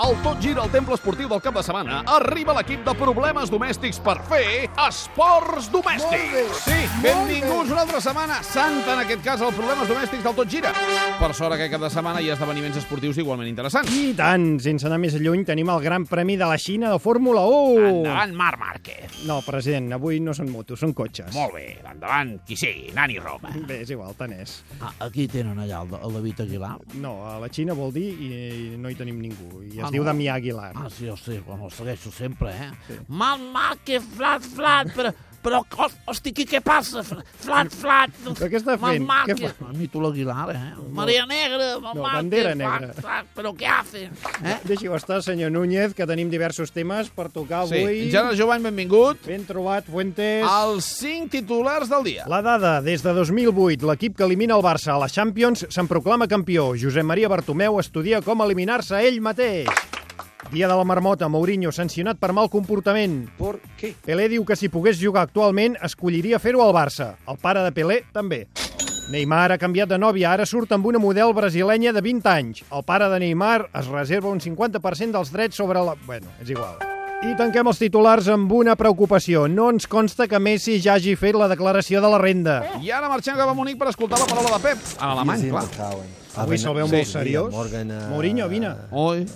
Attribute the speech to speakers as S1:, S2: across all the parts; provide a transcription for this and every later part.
S1: Al tot gira el temple esportiu del cap de setmana. Arriba l'equip de problemes domèstics per fer esports
S2: Molt bé,
S1: domèstics. Sí,
S2: molt
S1: benvinguts una altra setmana. Santa, en aquest cas, els problemes domèstics del tot gira. Per sort, aquest cap de setmana hi ha esdeveniments esportius igualment interessants.
S2: I tant, sense anar més lluny, tenim el Gran Premi de la Xina de Fórmula 1.
S3: Oh. Endavant, Marc Márquez.
S2: No, president, avui no són motos, són cotxes.
S3: Molt bé, endavant, qui sigui, Nani Roma.
S2: Bé, és igual, tant és.
S4: Ah, aquí tenen allà el, el David Aguilar.
S2: No, a la Xina vol dir i no hi tenim ningú. I es
S4: Ah,
S2: diu
S4: no?
S2: Damià Aguilar.
S4: Ah, sí, el sé, bueno, el segueixo sempre, eh? Sí. Mal, mal, que flat, flat, però... Però, hos- hosti, qui què passa? Fl- Flat, flat...
S2: Però què està fent?
S4: Mal,
S2: Què
S4: que...
S2: fa?
S4: Mito l'Aguilar, eh? Maria Negra, mal,
S2: No,
S4: mal,
S2: bandera
S4: que
S2: negra.
S4: Flat, flat, però què hace? Eh?
S2: Deixi-ho estar, senyor Núñez, que tenim diversos temes per tocar
S1: Sí,
S2: avui.
S1: Gerard Jovany, benvingut.
S2: Ben trobat, Fuentes.
S1: Els cinc titulars del dia.
S2: La dada, des de 2008, l'equip que elimina el Barça a la Champions se'n proclama campió. Josep Maria Bartomeu estudia com eliminar-se ell mateix. Dia de la marmota, Mourinho sancionat per mal comportament.
S5: ¿Por qué?
S2: Pelé diu que si pogués jugar actualment escolliria fer-ho al Barça. El pare de Pelé també. Neymar ha canviat de nòvia, ara surt amb una model brasilenya de 20 anys. El pare de Neymar es reserva un 50% dels drets sobre la... Bueno, és igual. I tanquem els titulars amb una preocupació. No ens consta que Messi ja hagi fet la declaració de la renda.
S1: I ara marxem cap a Munic per escoltar la paraula de Pep. En alemany, Ah, clar.
S2: Avui se'l veu molt seriós. Mourinho, vine.
S1: Hoy,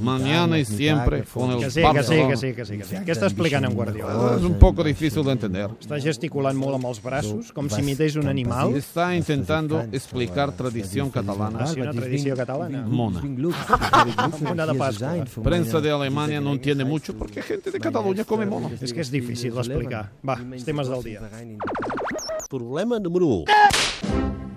S1: mañana y siempre con el
S2: Que sí, que sí, que sí, que sí. Que sí. Què està explicant en Guardiola?
S1: Es un poco difícil de entender.
S2: Està gesticulant molt amb els braços, com si imités un animal.
S1: Está intentando explicar
S2: eh,
S1: tradición
S2: este
S1: catalana.
S2: Sí, una tradició catalana.
S1: Mona.
S2: Mona de Pasqua.
S1: Prensa de Alemania no entiende mucho porque gente de Cataluña come mono.
S2: És que és difícil d'explicar. Va, els temes del dia.
S5: Problema número 1.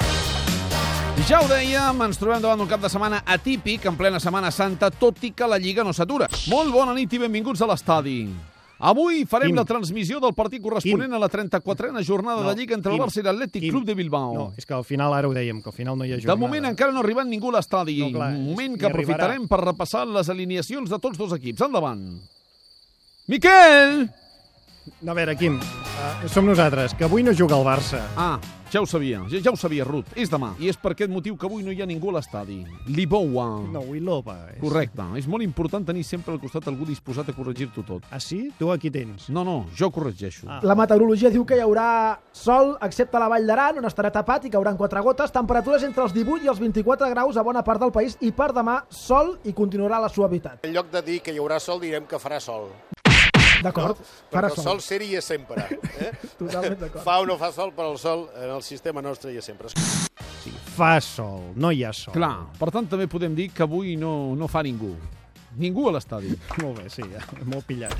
S1: I ja ho dèiem, ens trobem davant d'un cap de setmana atípic en plena Setmana Santa, tot i que la Lliga no s'atura. Molt bona nit i benvinguts a l'estadi. Avui farem
S2: Quim.
S1: la transmissió del partit corresponent a la 34a jornada de Lliga entre el
S2: Quim.
S1: Barça i l'Atlètic
S2: Quim.
S1: Club de Bilbao.
S2: No, és que al final ara ho dèiem, que al final no hi ha
S1: De
S2: jornada.
S1: moment encara no ha arribat ningú a l'estadi.
S2: No, clar,
S1: Un moment
S2: ni
S1: que
S2: arribarà.
S1: aprofitarem per repassar les alineacions de tots dos equips. Endavant. Miquel!
S2: No, a veure, Quim, uh, som nosaltres, que avui no juga el Barça.
S1: Ah, ja ho sabia, ja, ja ho sabia, Ruth. És demà. I és per aquest motiu que avui no hi ha ningú a l'estadi. Libowa.
S2: No, avui l'Opa. És...
S1: Correcte. És molt important tenir sempre al costat algú disposat a corregir-t'ho tot.
S2: Ah, sí? Tu aquí tens.
S1: No, no, jo corregeixo.
S2: Ah.
S6: La meteorologia diu que hi haurà sol, excepte a la Vall d'Aran, on estarà tapat i cauran quatre gotes. Temperatures entre els 18 i els 24 graus a bona part del país i per demà sol i continuarà la suavitat.
S7: En lloc de dir que hi haurà sol, direm que farà sol.
S6: D'acord?
S7: Perquè
S6: Farà
S7: el sol ser hi és sempre. Eh?
S6: Totalment d'acord.
S7: Fa o no fa sol, però el sol en el sistema nostre hi és sempre.
S2: Fa sol, no hi ha sol.
S1: Clar, per tant també podem dir que avui no, no fa ningú. Ningú a l'estadi.
S2: Molt bé, sí, molt pillat.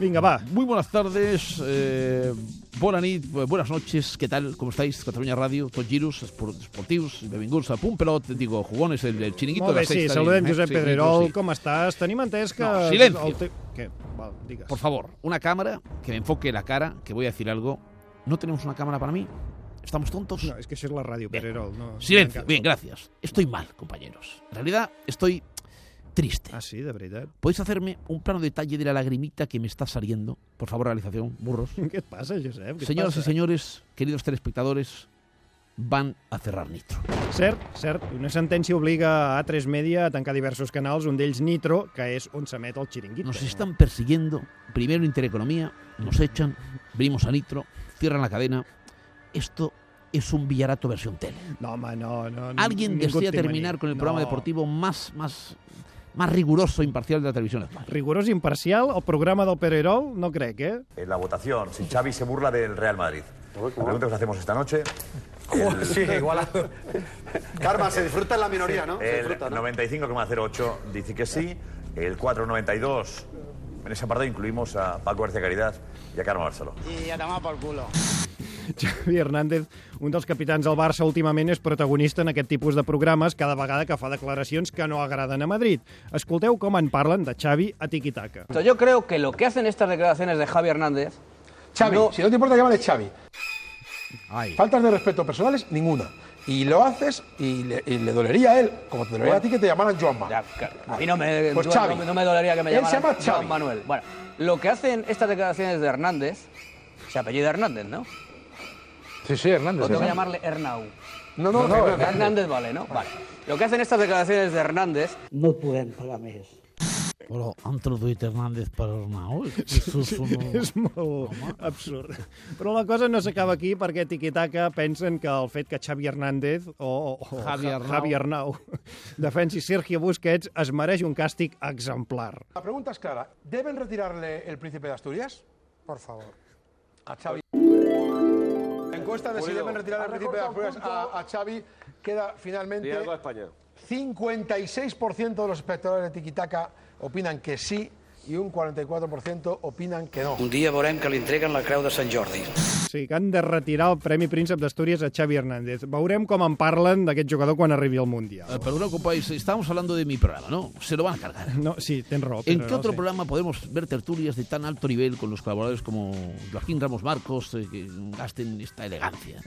S2: Vinga, va.
S4: Muy buenas tardes, eh, bona nit, eh, buenas noches, ¿qué tal? ¿Cómo estáis? Cataluña Radio, tots giros, espor- esportius, benvinguts a Punt Pelot, digo, jugones, el, el chiringuito
S2: Molt
S4: de
S2: bé,
S4: la
S2: sí,
S4: sexta.
S2: saludem
S4: eh?
S2: Josep
S4: Sí,
S2: Pedrerol,
S4: sí.
S2: com estàs? Tenim entès que...
S4: No, silencio.
S2: el te- Què? Val, digues.
S4: Por favor, una cámara que me enfoque la cara, que voy a decir algo. ¿No tenemos una cámara para mí? ¿Estamos tontos?
S2: No, és que això és la ràdio,
S4: Bien.
S2: Pedrerol. No,
S4: Silencio, bien, gracias. Estoy mal, compañeros. En realidad, estoy triste.
S2: Ah, sí, de veritat?
S4: ¿Podéis hacerme un plano detalle de la lagrimita que me está saliendo? Por favor, realización, burros.
S2: Què et passa, Josep? Què et
S4: Señoras y
S2: passa?
S4: señores, Pues, queridos telespectadores, van a cerrar Nitro.
S2: Cert, cert. Una sentència obliga a A3 Media a tancar diversos canals, un d'ells Nitro, que és on s'emet el xiringuito.
S4: Nos están persiguiendo. Primero Intereconomía, nos echan, venimos a Nitro, cierran la cadena. Esto es un villarato versión tele.
S2: No, home, no, no. no,
S4: Alguien
S2: ningú
S4: desea
S2: et té
S4: terminar
S2: mania.
S4: con el
S2: No.
S4: programa deportivo más, más, más riguroso e imparcial de la televisión actual.
S2: Rigorós i imparcial, el programa del Pererol, no crec, eh?
S8: en la votación si Xavi se burla del Real Madrid. La pregunta que os hacemos esta noche. El, sí, igual.
S7: Carme, se disfruta en la minoria, no? Se
S8: El
S7: disfruta, no?
S8: 95,08 dice que sí. El 4,92. En ese apartado incluimos a Paco García Caridad y a Carmen Barceló.
S2: Xavi Hernández, un dels capitans del Barça últimament, és protagonista en aquest tipus de programes cada vegada que fa declaracions que no agraden a Madrid. Escolteu com en parlen de Xavi a Tiquitaca.
S9: Yo creo que lo que hacen estas declaraciones de Javi Hernández.
S10: Xavi,
S9: No.
S10: si no te importa llámale Xavi.
S4: Ay.
S10: Faltas de respeto personales, ninguna. Y lo haces y le, y le dolería a él, como te dolería a ti que te llamaran Joanma.
S9: Ya, claro, a mí no me,
S10: Pues
S9: no-
S10: Xavi.
S9: no, me dolería que me
S10: Él se
S9: llamaran
S10: llama
S9: Juan
S10: Xavi.
S9: Manuel. Bueno, lo que hacen estas declaraciones de Hernández, se apellida Hernández, ¿no?
S11: Sí, sí, Hernández.
S12: O tengo que llamarle
S11: Hernández.
S12: Hernau.
S11: No, no, no,
S12: Hernández.
S11: Hernández.
S12: vale, ¿no? Vale. Lo que hacen estas declaraciones de Hernández...
S13: No et podem pagar més.
S4: Però han traduït Hernández per Arnau? Això és un...
S2: És molt absurd. Però la cosa no s'acaba aquí perquè Tiquitaca pensen que el fet que Xavi Hernández o, o o
S14: Javi
S2: Ja-
S14: Arnau.
S2: Javi Arnau defensi Sergio Busquets es mereix un càstig exemplar.
S6: La pregunta es clara. ¿Deben retirarle el príncipe de Asturias? Por favor. A Xavi. La encuesta de si
S15: Pulido.
S6: deben retirar
S15: Ha
S6: el príncipe de
S15: recortado
S6: Asturias a, a Xavi queda finalmente...
S15: Diálogo a España.
S6: 56% de los espectadores de Tiquitaca opinan que sí y un 44% opinan que no.
S16: Un dia veurem que li entreguen la creu de Sant Jordi.
S2: Sí, que han de retirar el Premi Príncep d'Astúries a Xavi Hernández. Veurem com en parlen d'aquest jugador quan arribi al Mundial.
S1: Eh, Perdona, ocupáis, estamos hablando de mi programa, ¿no? Se lo van a cargar.
S2: No, sí, ten raó.
S1: ¿En
S2: però
S1: qué
S2: no
S1: otro
S2: sé.
S1: programa podemos ver tertulias de tan alto nivel con los colaboradores como Joaquín Ramos Marcos, eh, que gasten esta elegancia?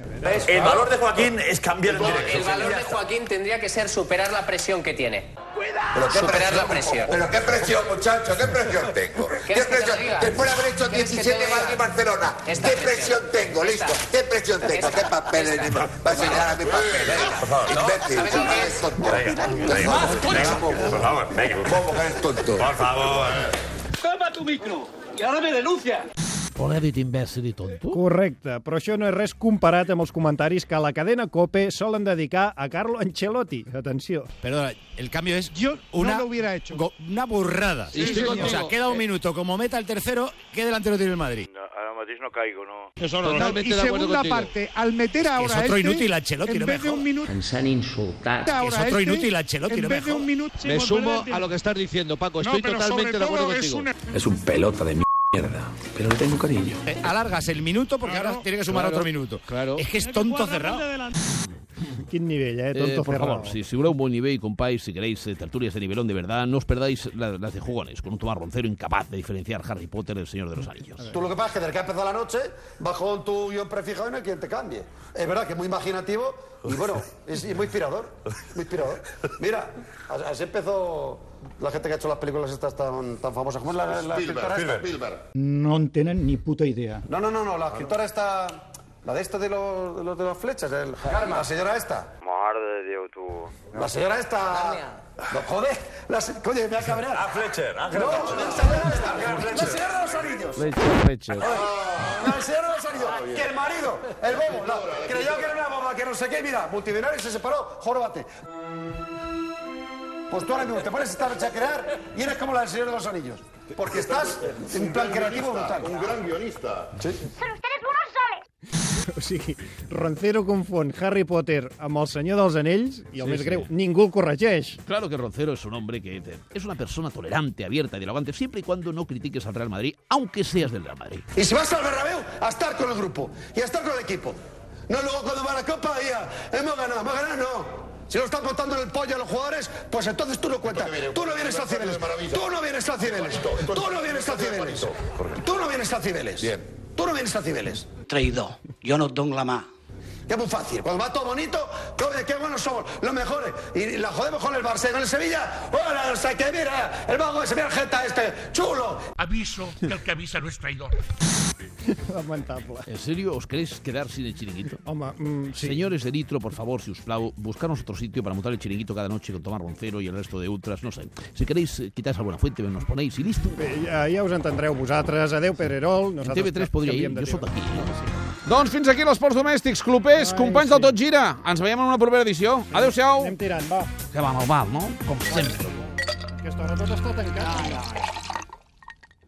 S8: El valor de Joaquín es cambiar el directo.
S17: El valor de Joaquín tendría que ser superar la presión que tiene. superar la presión.
S18: Pero qué presión, muchacho, qué presión tengo. ¿Qué
S17: ¿Quieres que te lo
S18: presión?
S17: diga?
S18: Después de haber hecho
S17: ¿Quieres que te
S18: 17
S17: lo diga?
S18: Madrid y Barcelona,
S17: Esta
S18: ¿qué
S17: presión.
S18: presión tengo? Listo, ¿qué presión tengo? ¿Qué papeles? ni- Va a enseñar a mi papeles.
S8: Por favor, no.
S18: Imbécil,
S8: ¿Sabes lo
S18: no eres tonto. Venga,
S8: Por favor, venga.
S18: ¿Cómo que eres tonto?
S8: Por favor.
S12: ¡Toma tu micro! Y ahora me denuncia.
S2: Polèdit imbècil i tonto. Correcte, però això no és res comparat amb els comentaris que a la cadena COPE solen dedicar a Carlo Ancelotti. Atenció.
S19: Perdona, el cambio es yo una,
S2: lo
S19: hubiera hecho. una burrada.
S2: Sí, estoy
S19: o sea,
S2: contigo.
S19: queda un minuto. Como meta el tercero, ¿qué delantero tiene el Madrid?
S20: Ahora Matís no caigo, ¿no?
S19: Totalmente
S21: y
S19: de acuerdo
S21: segunda
S19: contigo.
S21: parte, al meter
S19: Que es
S21: ahora
S19: otro
S21: este,
S19: inútil Ancelotti,
S21: en
S19: no me
S21: vez de un
S19: jodas.
S21: minuto,
S19: Nos han insultado.
S21: ahora
S19: Es otro
S21: este,
S19: inútil Ancelotti,
S21: en
S19: no me
S21: vez de un
S19: jodas.
S21: minuto
S22: Me
S21: hemos
S22: sumo
S21: perdido.
S22: a lo que estás diciendo, Paco.
S19: No,
S22: Estoy
S19: pero
S22: totalmente
S19: sobre
S22: de acuerdo
S19: todo es
S22: contigo.
S19: una-
S22: Es un pelota de mierda, pero le tengo cariño.
S19: Eh, alargas el minuto porque ahora tiene que sumar
S1: Claro,
S19: otro minuto.
S1: Claro.
S19: Es que es tonto cerrado.
S2: Quin nivell, eh?
S1: Eh,
S2: Tonto
S1: por
S2: cerrado.
S1: favor, si, si hubiera un buen nivel, compáis, si queréis eh, tertulias de nivelón de verdad, no os perdáis la- las de jugones, con un Tomás Roncero incapaz de diferenciar Harry Potter del Señor de los Anillos.
S7: Tú lo que pasa es que desde que ha empezado la noche, vas con tu guión prefijado y no hay quien te cambie. Es verdad que es muy imaginativo y bueno, es, es muy inspirador. Muy inspirador. Mira, as- así empezó la gente que ha hecho las películas estas tan, tan famosas. ¿Cómo es la, la escritora esta?
S21: No en tenen ni puta idea.
S7: No, no, no, no, la escritora esta. La de esta de los de, los, de las flechas, el- la señora esta.
S20: Madre de Dios, tú.
S7: La señora esta. No, joder, la se- coño, me voy a cabrear.
S17: Ah,
S7: A
S8: Fletcher,
S7: No, la señora esta. La señora de los anillos. La señora de los anillos. Que el marido, el bobo, la- creyó que era una boba, que no sé qué, y mira, multimillonario y se separó, jorobate. Pues tú ahora mismo te pones esta noche a crear y eres como la señora de los anillos. Porque estás en plan creativo brutal. Un gran guionista.
S2: O sigui, Roncero confon Harry Potter amb el Senyor dels Anells i
S1: Sí,
S2: el sí, més
S1: sí.
S2: greu, ningú el corregeix.
S1: Claro que Roncero es un hombre que te- es una persona tolerante, abierta, dialogante, siempre y cuando no critiques al Real Madrid, aunque seas del Real Madrid.
S7: Y si vas al Berrabeu, a estar con el grupo y a estar con el equipo. No luego cuando va la copa y a, hemos ganado, hemos ganado, no. Si lo están contando en el pollo a los jugadores, pues entonces tú no cuentas. Tú no vienes a Cibeles. Tú no vienes a Cibeles. Tú no vienes a Cibeles. Tú no vienes a Cibeles. Tú no vienes a Cibeles.
S16: Traïdor, jo no et dono la mà.
S7: Que es muy fácil. Cuando va todo bonito, cobre, qué buenos somos, los mejores. Y la jodemos con el Barcelona, el Sevilla. Hola, o sea, que mira, el vago de Sevilla, el Geta este, chulo.
S23: Aviso que el que avisa no es traidor.
S2: Lamentable.
S1: ¿En serio os queréis quedar sin el chiringuito?
S2: Home, mm, sí.
S1: Señores de Nitro, por favor, si os plau, buscaros otro sitio para montar el chiringuito cada noche con Tomás Roncero y el resto de ultras, no sé. Si queréis, eh, quitáis alguna fuente, nos ponéis y listo.
S2: Bé, Eh, ja, ja us entendreu vosaltres. Adéu, Pererol. Nosaltres
S1: TV3 podria
S2: canviem
S1: ir,
S2: de
S1: jo sóc
S2: tema.
S1: aquí.
S14: Doncs fins aquí les ports domèstics, clubers, companys del Tot Gira. Ens veiem en una propera edició. Adéu-siau.
S2: Anem tirant, va.
S1: Que va amb el bar, no? Com sempre.
S2: Aquesta hora tot està tancat. Ah, ja.